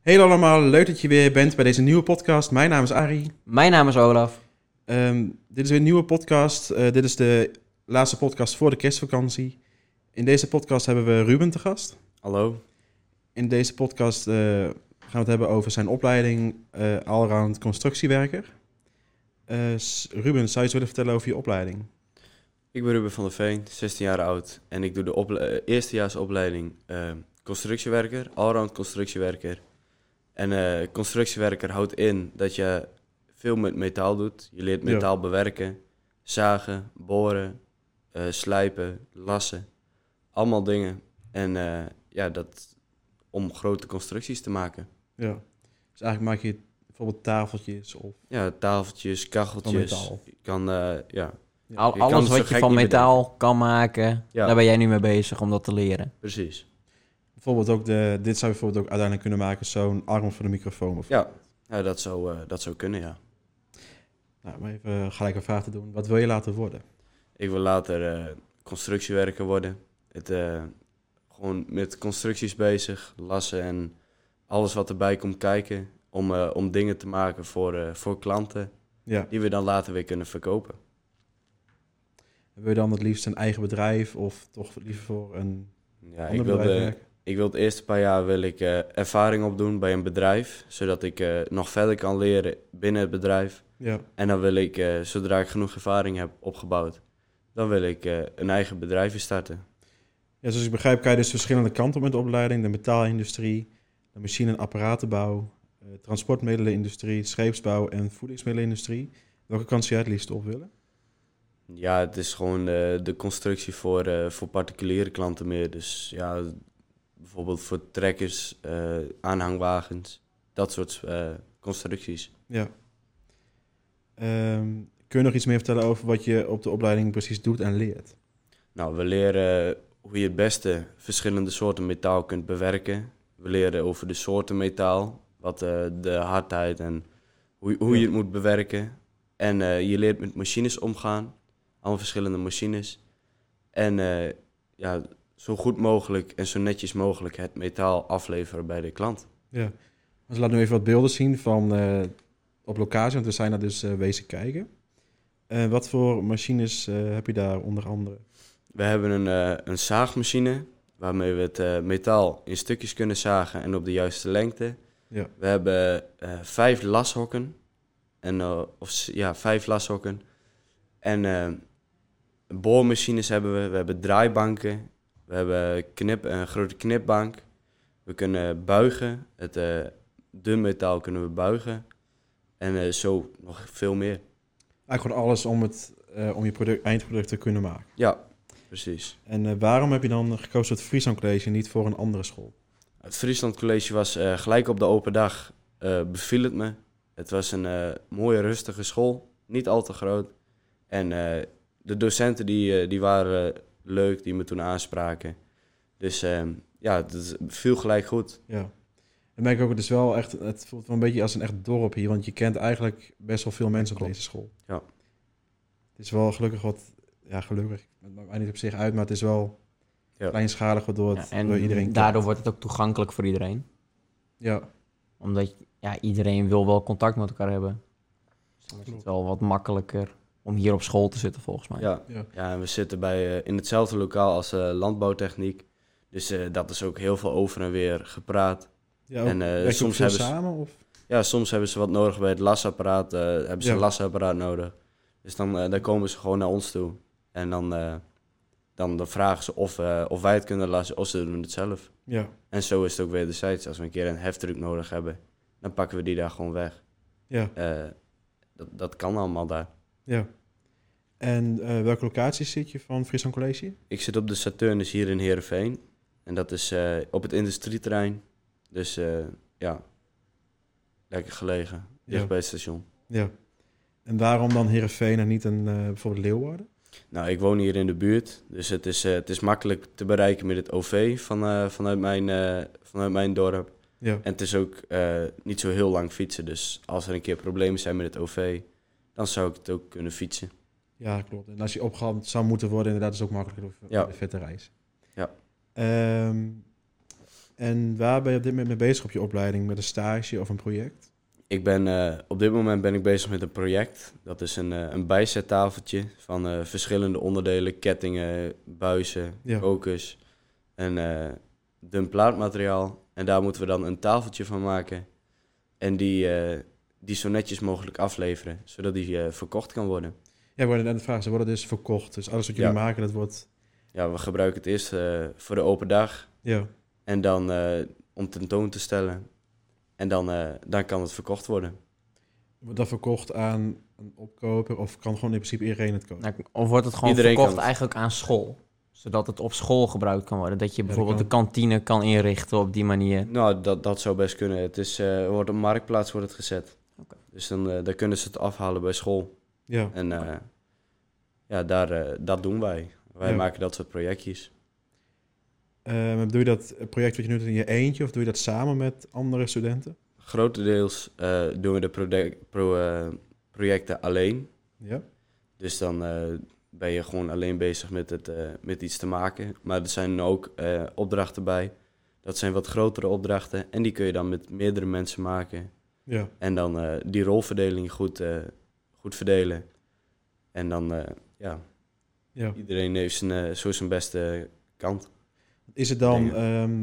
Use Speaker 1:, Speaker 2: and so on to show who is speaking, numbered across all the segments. Speaker 1: Hey allemaal, leuk dat je weer bent bij deze nieuwe podcast. Mijn naam is Arie.
Speaker 2: Mijn naam is Olaf.
Speaker 1: Ehm, dit is weer een nieuwe podcast. Eh, dit is de laatste podcast voor de kerstvakantie. In deze podcast hebben we Ruben te gast.
Speaker 3: Hallo.
Speaker 1: In deze podcast eh, gaan we het hebben over zijn opleiding eh allround constructiewerker. Eh, s- Ruben, zou je iets willen vertellen over je opleiding?
Speaker 3: Ik ben Ruben van der Veen, 16 jaar oud. En ik doe de ople- eh, eerstejaarsopleiding eh, constructiewerker, allround constructiewerker. En eh, constructiewerker houdt in dat je veel met metaal doet. Je leert
Speaker 1: Ja.
Speaker 3: metaal bewerken, zagen, boren, eh, slijpen, lassen. Allemaal dingen. En eh, ja, dat om grote constructies te maken.
Speaker 1: Ja. Dus eigenlijk maak je bijvoorbeeld tafeltjes of
Speaker 3: Ja, tafeltjes,
Speaker 1: van
Speaker 3: kacheltjes.
Speaker 1: metaal.
Speaker 3: Je kan, eh, ja,
Speaker 1: Ja,
Speaker 2: Al,
Speaker 3: je kan
Speaker 2: alles
Speaker 3: het zo
Speaker 2: wat je
Speaker 3: gek
Speaker 2: van
Speaker 3: niet
Speaker 2: metaal kan maken,
Speaker 3: Ja.
Speaker 2: daar ben jij nu mee bezig om dat te leren.
Speaker 3: precies.
Speaker 1: Bijvoorbeeld ook de, dit zou je bijvoorbeeld ook uiteindelijk kunnen maken, zo'n arm voor de microfoon. Of,
Speaker 3: Ja, ja dat, zou, eh, dat zou kunnen, ja.
Speaker 1: Nou, maar even eh, gelijk een vraag te doen. Wat wil je laten worden?
Speaker 3: Ik wil later eh, constructiewerker worden. Het, eh, gewoon met constructies bezig, lassen en alles wat erbij komt kijken. Om, eh, om dingen te maken voor, eh, voor klanten
Speaker 1: Ja.
Speaker 3: die we dan later weer kunnen verkopen.
Speaker 1: Wil je dan het liefst een eigen bedrijf of toch liever voor een
Speaker 3: Ja, ik
Speaker 1: ander
Speaker 3: wil,
Speaker 1: bedrijf
Speaker 3: de,
Speaker 1: werken?
Speaker 3: ik wil het eerste paar jaar wil ik, eh, ervaring opdoen bij een bedrijf. Zodat ik eh, nog verder kan leren binnen het bedrijf.
Speaker 1: Ja.
Speaker 3: En dan wil ik, eh, zodra ik genoeg ervaring heb opgebouwd, dan wil ik eh, een eigen bedrijfje starten.
Speaker 1: ja, zoals ik begrijp kan je dus verschillende kanten op met de opleiding. De metaalindustrie, de machine- en apparatenbouw, eh, transportmiddelenindustrie, scheepsbouw en voedingsmiddelenindustrie. Welke kant zou jij het liefst op willen?
Speaker 3: Ja, het is gewoon eh, de constructie voor, eh, voor particuliere klanten meer. Dus ja, bijvoorbeeld voor trekkers, eh, aanhangwagens, dat soort eh, constructies.
Speaker 1: Ja. Ehm, kun je nog iets meer vertellen over wat je op de opleiding precies doet en leert?
Speaker 3: Nou, we leren eh, hoe je het beste verschillende soorten metaal kunt bewerken. We leren over de soorten metaal, wat eh, de hardheid en hoe, hoe je
Speaker 1: Ja.
Speaker 3: het moet bewerken. En eh, je leert met machines omgaan, allemaal verschillende machines. En eh, ja, zo goed mogelijk en zo netjes mogelijk het metaal afleveren bij de klant.
Speaker 1: Ja. Dus laat nu even wat beelden zien van eh, op locatie, want we zijn daar dus eh, wezen kijken. Eh, wat voor machines eh, heb je daar onder andere?
Speaker 3: We hebben een, eh, een zaagmachine waarmee we het eh, metaal in stukjes kunnen zagen en op de juiste lengte.
Speaker 1: Ja.
Speaker 3: We hebben eh, vijf lashokken. En, eh, of, s- ja, vijf lashokken. En eh, boormachines hebben we. We hebben draaibanken. We hebben knip, een grote knipbank. We kunnen buigen. Het eh dun metaal kunnen we buigen. En eh, zo nog veel meer.
Speaker 1: Eigenlijk gewoon alles om, het, eh, om je product, eindproduct te kunnen maken.
Speaker 3: Ja, precies.
Speaker 1: En eh, waarom heb je dan gekozen voor het Friesland College en niet voor een andere school?
Speaker 3: Het Friesland College was eh, gelijk op de open dag, eh, beviel het me. Het was een eh, mooie, rustige school, niet al te groot. En eh, de docenten die, eh, die waren eh, leuk, die me toen aanspraken. Dus eh, ja, het viel gelijk goed.
Speaker 1: Ja. En merk ik ook, het is wel echt, het voelt wel een beetje als een echt dorp hier, want je kent eigenlijk best wel veel mensen op
Speaker 3: Klopt.
Speaker 1: deze school.
Speaker 3: Ja.
Speaker 1: Het is wel gelukkig wat, ja gelukkig, het maakt mij niet op zich uit, maar het is wel
Speaker 3: Ja.
Speaker 1: kleinschalig waardoor het
Speaker 2: Ja,
Speaker 1: door iedereen
Speaker 2: en
Speaker 1: kent.
Speaker 2: daardoor wordt het ook toegankelijk voor iedereen.
Speaker 1: Ja.
Speaker 2: Omdat ja, iedereen wil wel contact met elkaar hebben. Dus dan is het
Speaker 1: Klopt.
Speaker 2: wel wat makkelijker om hier op school te zitten volgens mij.
Speaker 3: Ja,
Speaker 1: Ja.
Speaker 3: ja. en we zitten bij, eh, in hetzelfde lokaal als eh, landbouwtechniek. Dus eh, dat is ook heel veel over en weer gepraat.
Speaker 1: Ja, ook,
Speaker 3: En, eh,
Speaker 1: werk Oh, je ook
Speaker 3: soms
Speaker 1: veel
Speaker 3: hebben ze-
Speaker 1: samen of?
Speaker 3: Ja, soms hebben ze wat nodig bij het lasapparaat. eh, hebben ze
Speaker 1: Ja.
Speaker 3: een lasapparaat nodig. Dus dan, eh, dan komen ze gewoon naar ons toe. En dan, eh, dan, dan vragen ze of, eh, of wij het kunnen lassen of ze doen het zelf.
Speaker 1: Ja.
Speaker 3: En zo is het ook wederzijds. Als we een keer een heftruck nodig hebben, dan pakken we die daar gewoon weg.
Speaker 1: Ja.
Speaker 3: Eh, dat, dat kan allemaal daar.
Speaker 1: ja. En eh, welke locatie zit je van Friesland College?
Speaker 3: Ik zit op de Saturnus hier in Heerenveen. En dat is eh, op het industrieterrein. Dus eh, ja, lekker gelegen. Dicht
Speaker 1: Ja.
Speaker 3: bij het station.
Speaker 1: Ja. En waarom dan Heerenveen en niet een, eh, bijvoorbeeld Leeuwarden?
Speaker 3: Nou, ik woon hier in de buurt, dus het is, eh, het is makkelijk te bereiken met het OV van, eh, vanuit, mijn, eh, vanuit mijn dorp.
Speaker 1: Ja.
Speaker 3: En het is ook eh, niet zo heel lang fietsen, dus als er een keer problemen zijn met het OV, dan zou ik het ook kunnen fietsen.
Speaker 1: Ja, klopt. En als je opgehaald zou moeten worden, inderdaad, is het ook makkelijker door
Speaker 3: Ja.
Speaker 1: de vette reis.
Speaker 3: Ja.
Speaker 1: Ehm, En waar ben je op dit moment mee bezig op je opleiding? Met een stage of een project?
Speaker 3: Ik ben, eh, op dit moment ben ik bezig met een project. Dat is een, eh, een bijzettafeltje van eh, verschillende onderdelen. Kettingen, buizen,
Speaker 1: Ja.
Speaker 3: kokers en eh dun plaatmateriaal. En daar moeten we dan een tafeltje van maken. En die, eh, die zo netjes mogelijk afleveren. Zodat die eh, verkocht kan worden.
Speaker 1: Ja, ik wilde net vragen, ze worden dus verkocht. Dus alles wat
Speaker 3: Ja.
Speaker 1: jullie maken, dat wordt...
Speaker 3: Ja, we gebruiken het eerst eh, voor de open dag.
Speaker 1: Ja.
Speaker 3: En dan eh, om tentoon te stellen. En dan, eh, dan kan het verkocht worden.
Speaker 1: Wordt dat verkocht aan een opkoper of kan gewoon in principe iedereen het kopen?
Speaker 2: Nou, of wordt het gewoon
Speaker 3: Iedereen
Speaker 2: verkocht
Speaker 3: kan het.
Speaker 2: eigenlijk aan school? Zodat het op school gebruikt kan worden. Dat je
Speaker 1: Ja, dat
Speaker 2: bijvoorbeeld de
Speaker 1: kan.
Speaker 2: kantine kan inrichten op die manier.
Speaker 3: Nou, dat, dat zou best kunnen. Het is, eh, wordt op marktplaats wordt het gezet.
Speaker 2: Oké.
Speaker 3: Dus dan, eh, daar kunnen ze het afhalen bij school.
Speaker 1: Ja.
Speaker 3: En eh, ja, daar, eh, dat doen wij. Wij
Speaker 1: Ja.
Speaker 3: maken dat soort projectjes.
Speaker 1: Ehm, doe je dat project wat je nu doet in je eentje of doe je dat samen met andere studenten?
Speaker 3: Grotendeels eh, doen we de product- pro- eh, projecten alleen.
Speaker 1: Ja.
Speaker 3: Dus dan eh, ben je gewoon alleen bezig met, het, eh, met iets te maken. Maar er zijn ook eh, opdrachten bij. Dat zijn wat grotere opdrachten. En die kun je dan met meerdere mensen maken.
Speaker 1: Ja.
Speaker 3: En dan eh, die rolverdeling goed, eh, goed verdelen. En dan, eh, ja,
Speaker 1: ja.
Speaker 3: iedereen heeft zijn, eh, zo zijn beste kant.
Speaker 1: Is het dan,
Speaker 3: Dingen.
Speaker 1: ehm,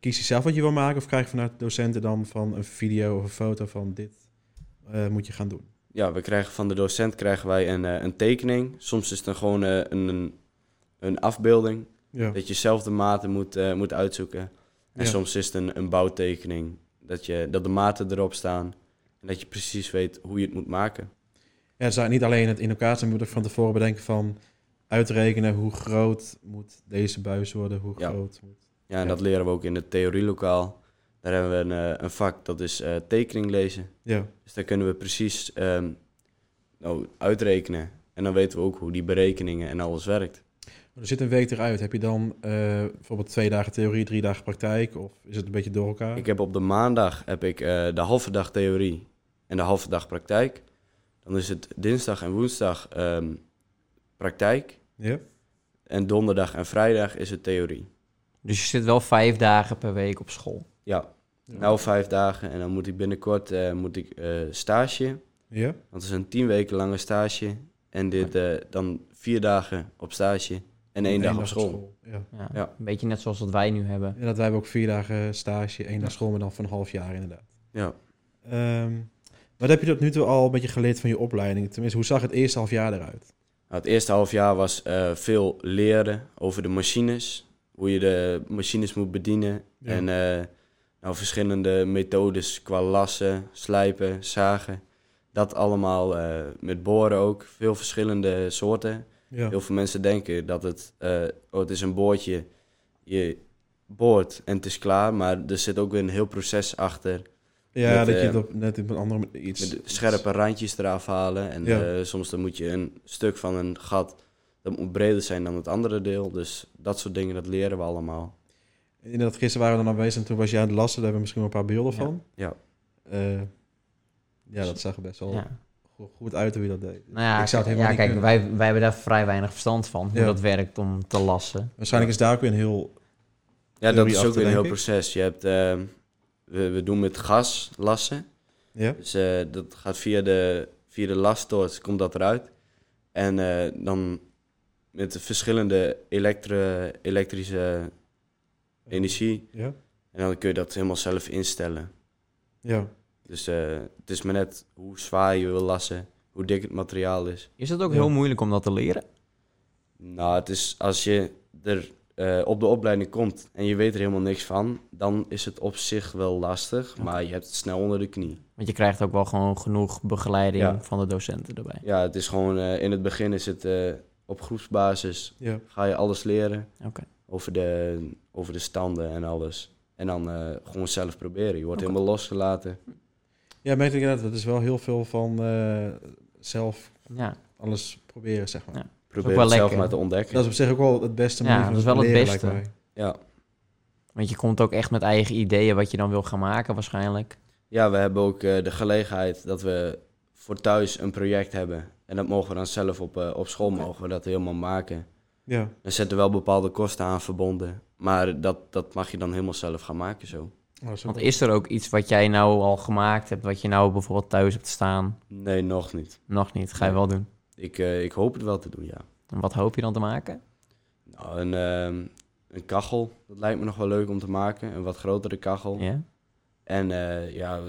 Speaker 1: kies je zelf wat je wil maken of krijg je vanuit docenten dan van een video of een foto van dit eh, moet je gaan doen?
Speaker 3: Ja, we krijgen van de docent krijgen wij een, eh, een tekening. Soms is het dan gewoon eh, een, een, een afbeelding.
Speaker 1: Ja.
Speaker 3: Dat je zelf de maten moet, eh, moet uitzoeken. En
Speaker 1: Ja.
Speaker 3: soms is het een, een bouwtekening. Dat, je, dat de maten erop staan. En dat je precies weet hoe je het moet maken.
Speaker 1: Ja, ze zijn niet alleen het in elkaar zijn, maar je moet ook van tevoren bedenken van uitrekenen hoe groot moet deze buis worden, hoe
Speaker 3: Ja.
Speaker 1: groot moet.
Speaker 3: Ja, en
Speaker 1: Ja.
Speaker 3: dat leren we ook in het theorielokaal. Daar hebben we een, eh, een vak, dat is eh, tekening lezen.
Speaker 1: Ja,
Speaker 3: Dus daar kunnen we precies ehm, nou, uitrekenen. En dan weten we ook hoe die berekeningen en alles werkt.
Speaker 1: er zit een week eruit. Heb je dan eh, bijvoorbeeld twee dagen theorie, drie dagen praktijk of is het een beetje door elkaar?
Speaker 3: Ik heb op de maandag heb ik, eh, de halve dag theorie en de halve dag praktijk. Dan is het dinsdag en woensdag ehm, praktijk.
Speaker 1: Ja?
Speaker 3: En donderdag en vrijdag is het theorie.
Speaker 2: Dus je zit wel vijf dagen per week op school.
Speaker 3: Ja, nou vijf dagen. En dan moet ik binnenkort eh, moet ik, eh, stage.
Speaker 1: Ja?
Speaker 3: Dat is een tien weken lange stage. En dit eh, dan vier dagen op stage en één
Speaker 1: Eén
Speaker 3: dag op school.
Speaker 1: Ja.
Speaker 2: Ja.
Speaker 3: Ja.
Speaker 2: Een beetje net zoals wat wij nu hebben.
Speaker 1: En dat wij hebben ook vier dagen stage, één dag school, maar dan van een half jaar inderdaad.
Speaker 3: Ja.
Speaker 1: Ehm, wat heb je tot nu toe al een beetje geleerd van je opleiding? Tenminste, hoe zag het eerste half jaar eruit?
Speaker 3: Nou, het eerste half jaar was eh, veel leren over de machines. Hoe je de machines moet bedienen.
Speaker 1: Ja.
Speaker 3: En eh, nou, verschillende methodes qua lassen, slijpen, zagen. Dat allemaal eh, met boren ook. Veel verschillende soorten.
Speaker 1: Ja.
Speaker 3: Heel veel mensen denken dat het, eh, oh, het is een boordje. Je boort en het is klaar. Maar er zit ook weer een heel proces achter.
Speaker 1: Ja,
Speaker 3: Met,
Speaker 1: dat je
Speaker 3: eh,
Speaker 1: het op, net op een andere manier iets...
Speaker 3: Met scherpe randjes eraf halen. En
Speaker 1: Ja.
Speaker 3: eh, soms dan moet je een stuk van een gat. Dat moet breder zijn dan het andere deel. Dus dat soort dingen, dat leren we allemaal.
Speaker 1: Inderdaad, gisteren waren we dan aanwezig en toen was jij aan het lassen. Daar hebben we misschien wel een paar beelden
Speaker 2: Ja.
Speaker 1: van.
Speaker 3: Ja.
Speaker 1: Eh, ja, dat zag er best wel
Speaker 2: Ja.
Speaker 1: go- goed uit hoe je dat deed.
Speaker 2: Nou ja,
Speaker 1: Ik zou het helemaal
Speaker 2: ja,
Speaker 1: niet
Speaker 2: kijk,
Speaker 1: kunnen.
Speaker 2: wij, wij hebben daar vrij weinig verstand van. Hoe
Speaker 1: Ja.
Speaker 2: dat werkt om te lassen.
Speaker 1: Waarschijnlijk is daar ook weer een heel...
Speaker 3: Ja, dat
Speaker 1: Theorie
Speaker 3: is ook
Speaker 1: achter,
Speaker 3: weer een heel
Speaker 1: denk ik.
Speaker 3: proces. Je hebt, eh, we, we doen met gas lassen.
Speaker 1: Ja,
Speaker 3: Dus eh, dat gaat via de, via de lastoorts, komt dat eruit. En eh, dan met de verschillende elektri- elektrische energie.
Speaker 1: ja,
Speaker 3: En dan kun je dat helemaal zelf instellen.
Speaker 1: ja.
Speaker 3: Dus eh, het is maar net hoe zwaar je wil lassen, hoe dik het materiaal is.
Speaker 2: Is het ook
Speaker 1: Ja.
Speaker 2: heel moeilijk om dat te leren?
Speaker 3: Nou, het is als je er eh, op de opleiding komt en je weet er helemaal niks van, dan is het op zich wel lastig, maar je hebt het snel onder de knie.
Speaker 2: Want je krijgt ook wel gewoon genoeg begeleiding
Speaker 3: Ja.
Speaker 2: van de docenten erbij.
Speaker 3: Ja, het is gewoon eh, in het begin is het eh, op groepsbasis
Speaker 1: ja.
Speaker 3: ga je alles leren
Speaker 2: Oké.
Speaker 3: over, de, over de standen en alles. En dan eh, gewoon zelf proberen. Je wordt
Speaker 2: Oké.
Speaker 3: helemaal losgelaten.
Speaker 1: Ja, merk ik inderdaad. Dat is wel heel veel van eh, zelf
Speaker 2: Ja.
Speaker 1: alles proberen, zeg maar.
Speaker 2: Ja.
Speaker 3: Probeer
Speaker 2: wel
Speaker 3: het zelf
Speaker 2: lekker.
Speaker 3: maar te ontdekken.
Speaker 1: Dat is op zich ook wel het beste
Speaker 2: Ja,
Speaker 1: manier van
Speaker 2: dat is wel het
Speaker 1: leren,
Speaker 2: beste.
Speaker 1: lijkt mij.
Speaker 3: Ja.
Speaker 2: Want je komt ook echt met eigen ideeën wat je dan wil gaan maken waarschijnlijk.
Speaker 3: Ja, we hebben ook eh, de gelegenheid dat we voor thuis een project hebben. En dat mogen we dan zelf op, eh, op school mogen we dat helemaal maken.
Speaker 1: Ja.
Speaker 3: Er zitten wel bepaalde kosten aan verbonden. Maar dat, dat mag je dan helemaal zelf gaan maken zo.
Speaker 1: Oh, dat is ook
Speaker 2: Want e- is er ook iets wat jij nou al gemaakt hebt, wat je nou bijvoorbeeld thuis hebt staan?
Speaker 3: Nee, nog niet.
Speaker 2: Nog niet, ga je
Speaker 3: Nee.
Speaker 2: wel doen.
Speaker 3: Ik, eh, ik hoop het wel te doen, ja.
Speaker 2: En wat hoop je dan te maken?
Speaker 3: Nou, een, ehm, een kachel, dat lijkt me nog wel leuk om te maken. Een wat grotere kachel.
Speaker 2: Ja?
Speaker 3: En eh, ja,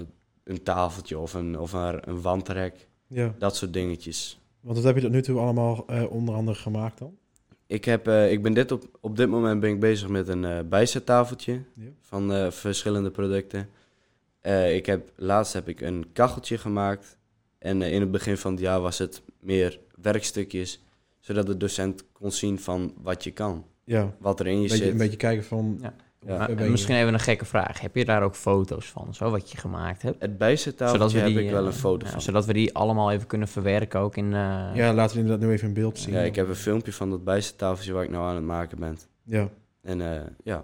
Speaker 3: een tafeltje of, een, of een, een wandrek.
Speaker 1: Ja,
Speaker 3: Dat soort dingetjes.
Speaker 1: want wat heb je tot nu toe allemaal eh, onder andere gemaakt dan?
Speaker 3: Ik, heb, eh, ik ben dit op, op dit moment ben ik bezig met een eh, bijzettafeltje
Speaker 1: Ja.
Speaker 3: van eh, verschillende producten. Eh, ik heb, laatst heb ik een kacheltje gemaakt. En eh, in het begin van het jaar was het meer werkstukjes. Zodat de docent kon zien van wat je kan.
Speaker 1: Ja,
Speaker 3: Wat er in je
Speaker 1: een beetje,
Speaker 3: zit.
Speaker 1: een beetje kijken van...
Speaker 2: Ja.
Speaker 1: hoe
Speaker 3: Ja.
Speaker 1: ver
Speaker 2: Maar,
Speaker 1: ben
Speaker 2: eh,
Speaker 1: je?
Speaker 2: misschien even een gekke vraag. Heb je daar ook foto's van, zo wat je gemaakt hebt?
Speaker 3: Het bijzettafeltje heb ik wel
Speaker 2: eh,
Speaker 3: een foto
Speaker 2: ja,
Speaker 3: van.
Speaker 2: Zodat we die allemaal even kunnen verwerken ook in... eh,
Speaker 1: Ja, laten we inderdaad nu even een beeld zien.
Speaker 3: Ja, ik heb een filmpje van dat bijzettafeltje waar ik nou aan het maken ben.
Speaker 1: Ja,
Speaker 3: En eh, ja,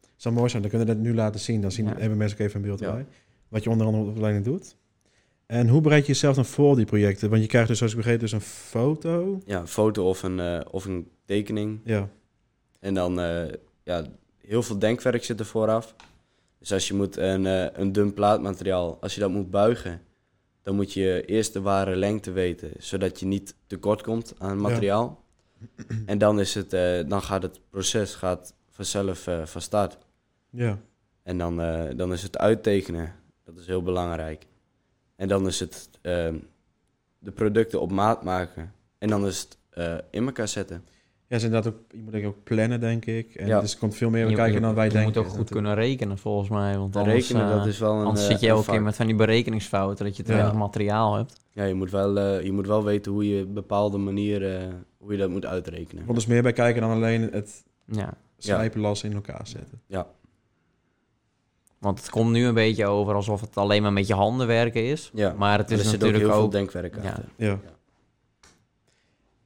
Speaker 1: het zou mooi zijn. Dan kunnen we dat nu laten zien. Dan zien,
Speaker 2: Ja.
Speaker 1: hebben mensen ook even een beeld
Speaker 3: Ja.
Speaker 1: bij. Wat je onder andere op de opleiding doet. En hoe bereid je jezelf dan voor op die projecten? Want je krijgt dus, zoals ik begreep, dus een foto.
Speaker 3: ja, een foto of een, eh, of een tekening.
Speaker 1: Ja,
Speaker 3: En dan, eh, ja, heel veel denkwerk zit er vooraf. Dus als je moet een, eh, een dun plaatmateriaal, als je dat moet buigen, dan moet je eerst de ware lengte weten, zodat je niet tekort komt aan materiaal. En dan, is het, eh, dan gaat het proces gaat vanzelf eh, van start.
Speaker 1: ja.
Speaker 3: En dan, eh, dan is het uittekenen, dat is heel belangrijk. En dan is het eh, de producten op maat maken. En dan is het eh, in elkaar zetten.
Speaker 1: Ja, is inderdaad ook, je moet denk ik ook plannen, denk ik. En
Speaker 3: Ja.
Speaker 1: dus er komt veel meer
Speaker 2: je-
Speaker 1: bij kijken dan wij
Speaker 2: je
Speaker 1: denken.
Speaker 2: moet ook goed kunnen rekenen, volgens mij. Want
Speaker 3: Dan
Speaker 2: anders,
Speaker 3: rekenen,
Speaker 2: eh,
Speaker 3: dat is wel een.
Speaker 2: anders
Speaker 3: eh,
Speaker 2: zit je
Speaker 3: een
Speaker 2: elke
Speaker 3: vak.
Speaker 2: keer met van die berekeningsfouten, dat je te
Speaker 1: Ja.
Speaker 2: weinig materiaal hebt.
Speaker 3: Ja, je moet, wel, eh, je moet wel weten hoe je bepaalde manieren, eh, hoe je dat moet uitrekenen.
Speaker 1: Er komt dus meer bij kijken dan alleen het
Speaker 2: Ja.
Speaker 1: slijpenlas in elkaar zetten.
Speaker 2: Want het komt nu een beetje over alsof het alleen maar met je handen werken is.
Speaker 3: Ja,
Speaker 2: Maar het
Speaker 3: er
Speaker 2: is
Speaker 3: zit
Speaker 2: natuurlijk
Speaker 3: ook
Speaker 2: ook...
Speaker 3: heel veel denkwerk
Speaker 2: ja.
Speaker 3: achter.
Speaker 1: Ja.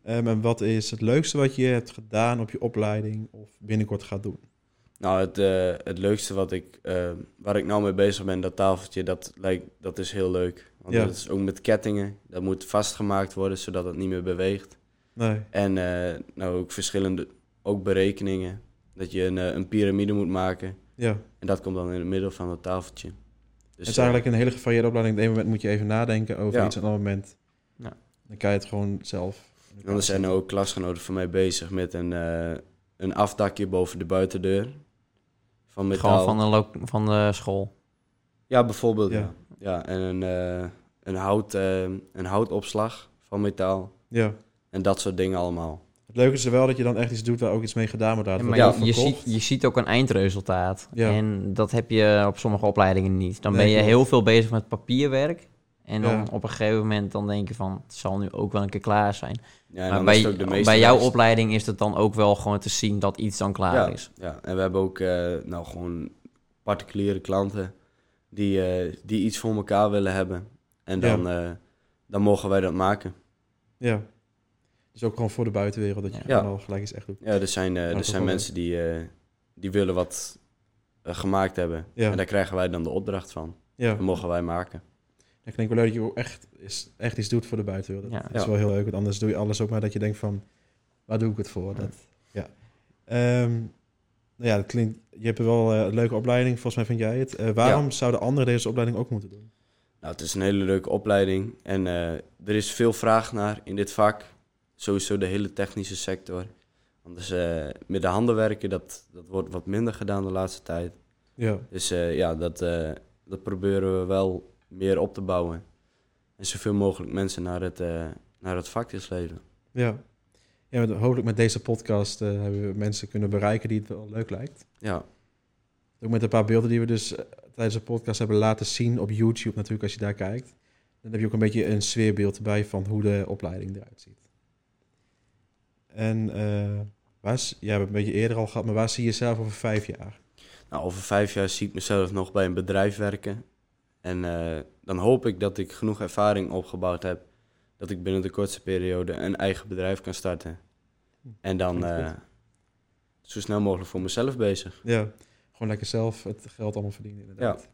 Speaker 1: Ehm, en wat is het leukste wat je hebt gedaan op je opleiding of binnenkort gaat doen?
Speaker 3: Nou, het, eh, het leukste wat ik, eh, waar ik nou mee bezig ben, dat tafeltje, dat, lijkt, dat is heel leuk. Want
Speaker 1: Ja.
Speaker 3: dat is ook met kettingen. Dat moet vastgemaakt worden, zodat het niet meer beweegt.
Speaker 1: Nee.
Speaker 3: En eh, nou, ook verschillende ook berekeningen. Dat je een, eh, een piramide moet maken.
Speaker 1: Ja. Het
Speaker 3: En dat komt dan in het midden van het tafeltje. Dus,
Speaker 1: is
Speaker 3: eh,
Speaker 1: eigenlijk een hele gevarieerde opleiding. Op het ene moment moet je even nadenken over
Speaker 3: Ja.
Speaker 1: iets, en op het andere moment
Speaker 2: Ja.
Speaker 1: dan kan je het gewoon zelf. in elkaar
Speaker 3: En er zijn
Speaker 1: zetten.
Speaker 3: er ook klasgenoten van mij bezig met een, eh, een afdakje boven de buitendeur. Van metaal.
Speaker 2: Gewoon van de, lo- van de school.
Speaker 3: Ja, bijvoorbeeld.
Speaker 1: Ja.
Speaker 3: Ja. Ja, en een, eh, een, hout, eh, een houtopslag van metaal.
Speaker 1: Ja.
Speaker 3: En dat soort dingen allemaal.
Speaker 1: Het leuke is er wel dat je dan echt iets doet waar ook iets mee gedaan wordt.
Speaker 2: Ja,
Speaker 1: laten
Speaker 2: maar
Speaker 1: we
Speaker 3: Ja.
Speaker 2: je, je ziet, je ziet ook een eindresultaat.
Speaker 1: Ja.
Speaker 2: En dat heb je op sommige opleidingen niet. Dan
Speaker 1: Nee,
Speaker 2: ben je
Speaker 1: klopt.
Speaker 2: heel veel bezig met papierwerk. En dan
Speaker 1: Ja.
Speaker 2: op een gegeven moment dan denk je van... het zal nu ook wel een keer klaar zijn.
Speaker 3: Ja, en
Speaker 2: maar
Speaker 3: dan is het
Speaker 2: bij,
Speaker 3: ook de meeste
Speaker 2: bij jouw
Speaker 3: lijst.
Speaker 2: opleiding is het dan ook wel gewoon te zien dat iets dan klaar
Speaker 3: Ja.
Speaker 2: is.
Speaker 3: Ja, en we hebben ook eh, nou, gewoon particuliere klanten die, eh, die iets voor elkaar willen hebben. En
Speaker 1: Ja.
Speaker 3: dan, eh, dan mogen wij dat maken.
Speaker 1: Ja. Dus ook gewoon voor de buitenwereld dat je
Speaker 2: Ja.
Speaker 1: gewoon al gelijk iets echt doet.
Speaker 3: Ja, er zijn, eh,
Speaker 1: dat
Speaker 3: er
Speaker 1: is
Speaker 3: zijn
Speaker 1: wel
Speaker 3: mensen die, eh, die willen wat eh, gemaakt hebben.
Speaker 1: Ja.
Speaker 3: En daar krijgen wij dan de opdracht van.
Speaker 1: Ja.
Speaker 3: Dat mogen wij maken.
Speaker 1: Ik denk wel leuk dat je ook echt, is, echt iets doet voor de buitenwereld.
Speaker 2: Ja.
Speaker 1: Dat is
Speaker 3: Ja.
Speaker 1: wel heel leuk, want anders doe je alles ook maar dat je denkt van, waar doe ik het voor? Dat, ja. Ehm, nou ja, dat klinkt, je hebt wel eh, een leuke opleiding, volgens mij vind jij het. Eh, waarom zouden anderen deze opleiding ook moeten doen?
Speaker 3: Nou, het is een hele leuke opleiding. En eh, er is veel vraag naar in dit vak. Sowieso de hele technische sector. Anders eh, met de handen werken, dat, dat wordt wat minder gedaan de laatste tijd.
Speaker 1: Ja,
Speaker 3: Dus eh, ja, dat, eh, dat proberen we wel meer op te bouwen. En zoveel mogelijk mensen naar het, eh, naar het vak te slepen.
Speaker 1: ja. ja want hopelijk met deze podcast eh, hebben we mensen kunnen bereiken die het wel leuk lijkt.
Speaker 3: Ja,
Speaker 1: Ook met een paar beelden die we dus eh, tijdens de podcast hebben laten zien op YouTube natuurlijk, als je daar kijkt. Dan heb je ook een beetje een sfeerbeeld bij van hoe de opleiding eruit ziet. En eh waar, is- ja, we hebben het een beetje eerder al gehad, maar waar zie je jezelf over vijf jaar?
Speaker 3: nou, over vijf jaar zie ik mezelf nog bij een bedrijf werken. En eh, dan hoop ik dat ik genoeg ervaring opgebouwd heb. Dat ik binnen de kortste periode een eigen bedrijf kan starten. En dan
Speaker 1: Klinkt
Speaker 3: eh, zo snel mogelijk voor mezelf bezig.
Speaker 1: Ja, gewoon lekker zelf het geld allemaal verdienen inderdaad.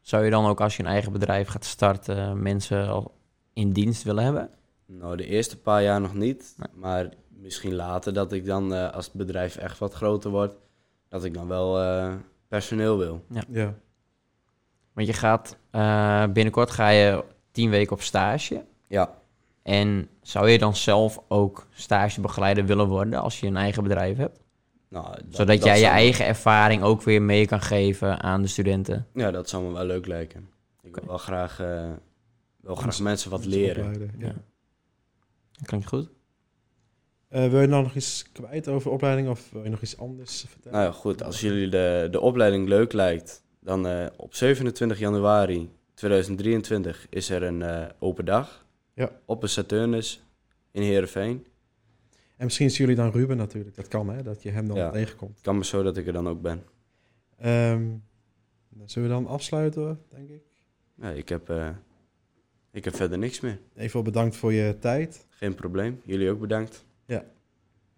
Speaker 2: Zou je dan ook als je een eigen bedrijf gaat starten... mensen al in dienst willen hebben?
Speaker 3: Nou, de eerste paar jaar nog niet.
Speaker 2: Nee.
Speaker 3: Maar misschien later dat ik dan, eh, als het bedrijf echt wat groter wordt, dat ik dan wel eh, personeel wil.
Speaker 1: Ja.
Speaker 2: Want je gaat eh, binnenkort ga je tien weken op stage.
Speaker 3: Ja.
Speaker 2: En zou je dan zelf ook stagebegeleider willen worden als je een eigen bedrijf hebt?
Speaker 3: Nou, dat-
Speaker 2: Zodat
Speaker 3: dat
Speaker 2: jij je
Speaker 3: zou me-
Speaker 2: eigen ervaring ook weer mee kan geven aan de studenten.
Speaker 3: Ja, dat zou me wel leuk lijken. Ik wil wel graag, eh, wel graag
Speaker 1: Mensen-
Speaker 3: mensen wat leren.
Speaker 1: Opleiden, ja.
Speaker 2: Ja. Klinkt goed.
Speaker 1: Eh, wil je nou nog iets kwijt over opleiding of wil je nog iets anders vertellen?
Speaker 3: Nou ja, goed. Als jullie de, de opleiding leuk lijkt, dan eh, op 27 januari 2023 is er een eh, open dag.
Speaker 1: Ja.
Speaker 3: Op een Saturnus in Heerenveen.
Speaker 1: En misschien zien jullie dan Ruben natuurlijk. Dat kan hè, dat je hem dan
Speaker 3: Ja.
Speaker 1: tegenkomt.
Speaker 3: Het kan me zo dat ik er dan ook ben.
Speaker 1: Ehm, dan zullen we dan afsluiten, denk ik.
Speaker 3: Ja, ik, heb, eh, ik heb verder niks meer.
Speaker 1: Even wel bedankt voor je tijd.
Speaker 3: Geen probleem. Jullie ook bedankt.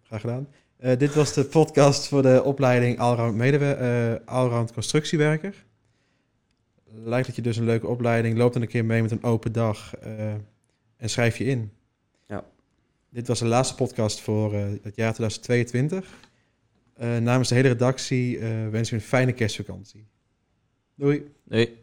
Speaker 1: Graag gedaan. Eh, dit was de podcast voor de opleiding Allround, medewer- eh, Allround Constructiewerker. Lijkt dat je dus een leuke opleiding. Loop dan een keer mee met een open dag eh, en schrijf je in.
Speaker 3: Ja.
Speaker 1: Dit was de laatste podcast voor eh, het jaar 2022. Eh, namens de hele redactie eh wens ik u een fijne kerstvakantie. Doei.
Speaker 2: Nee.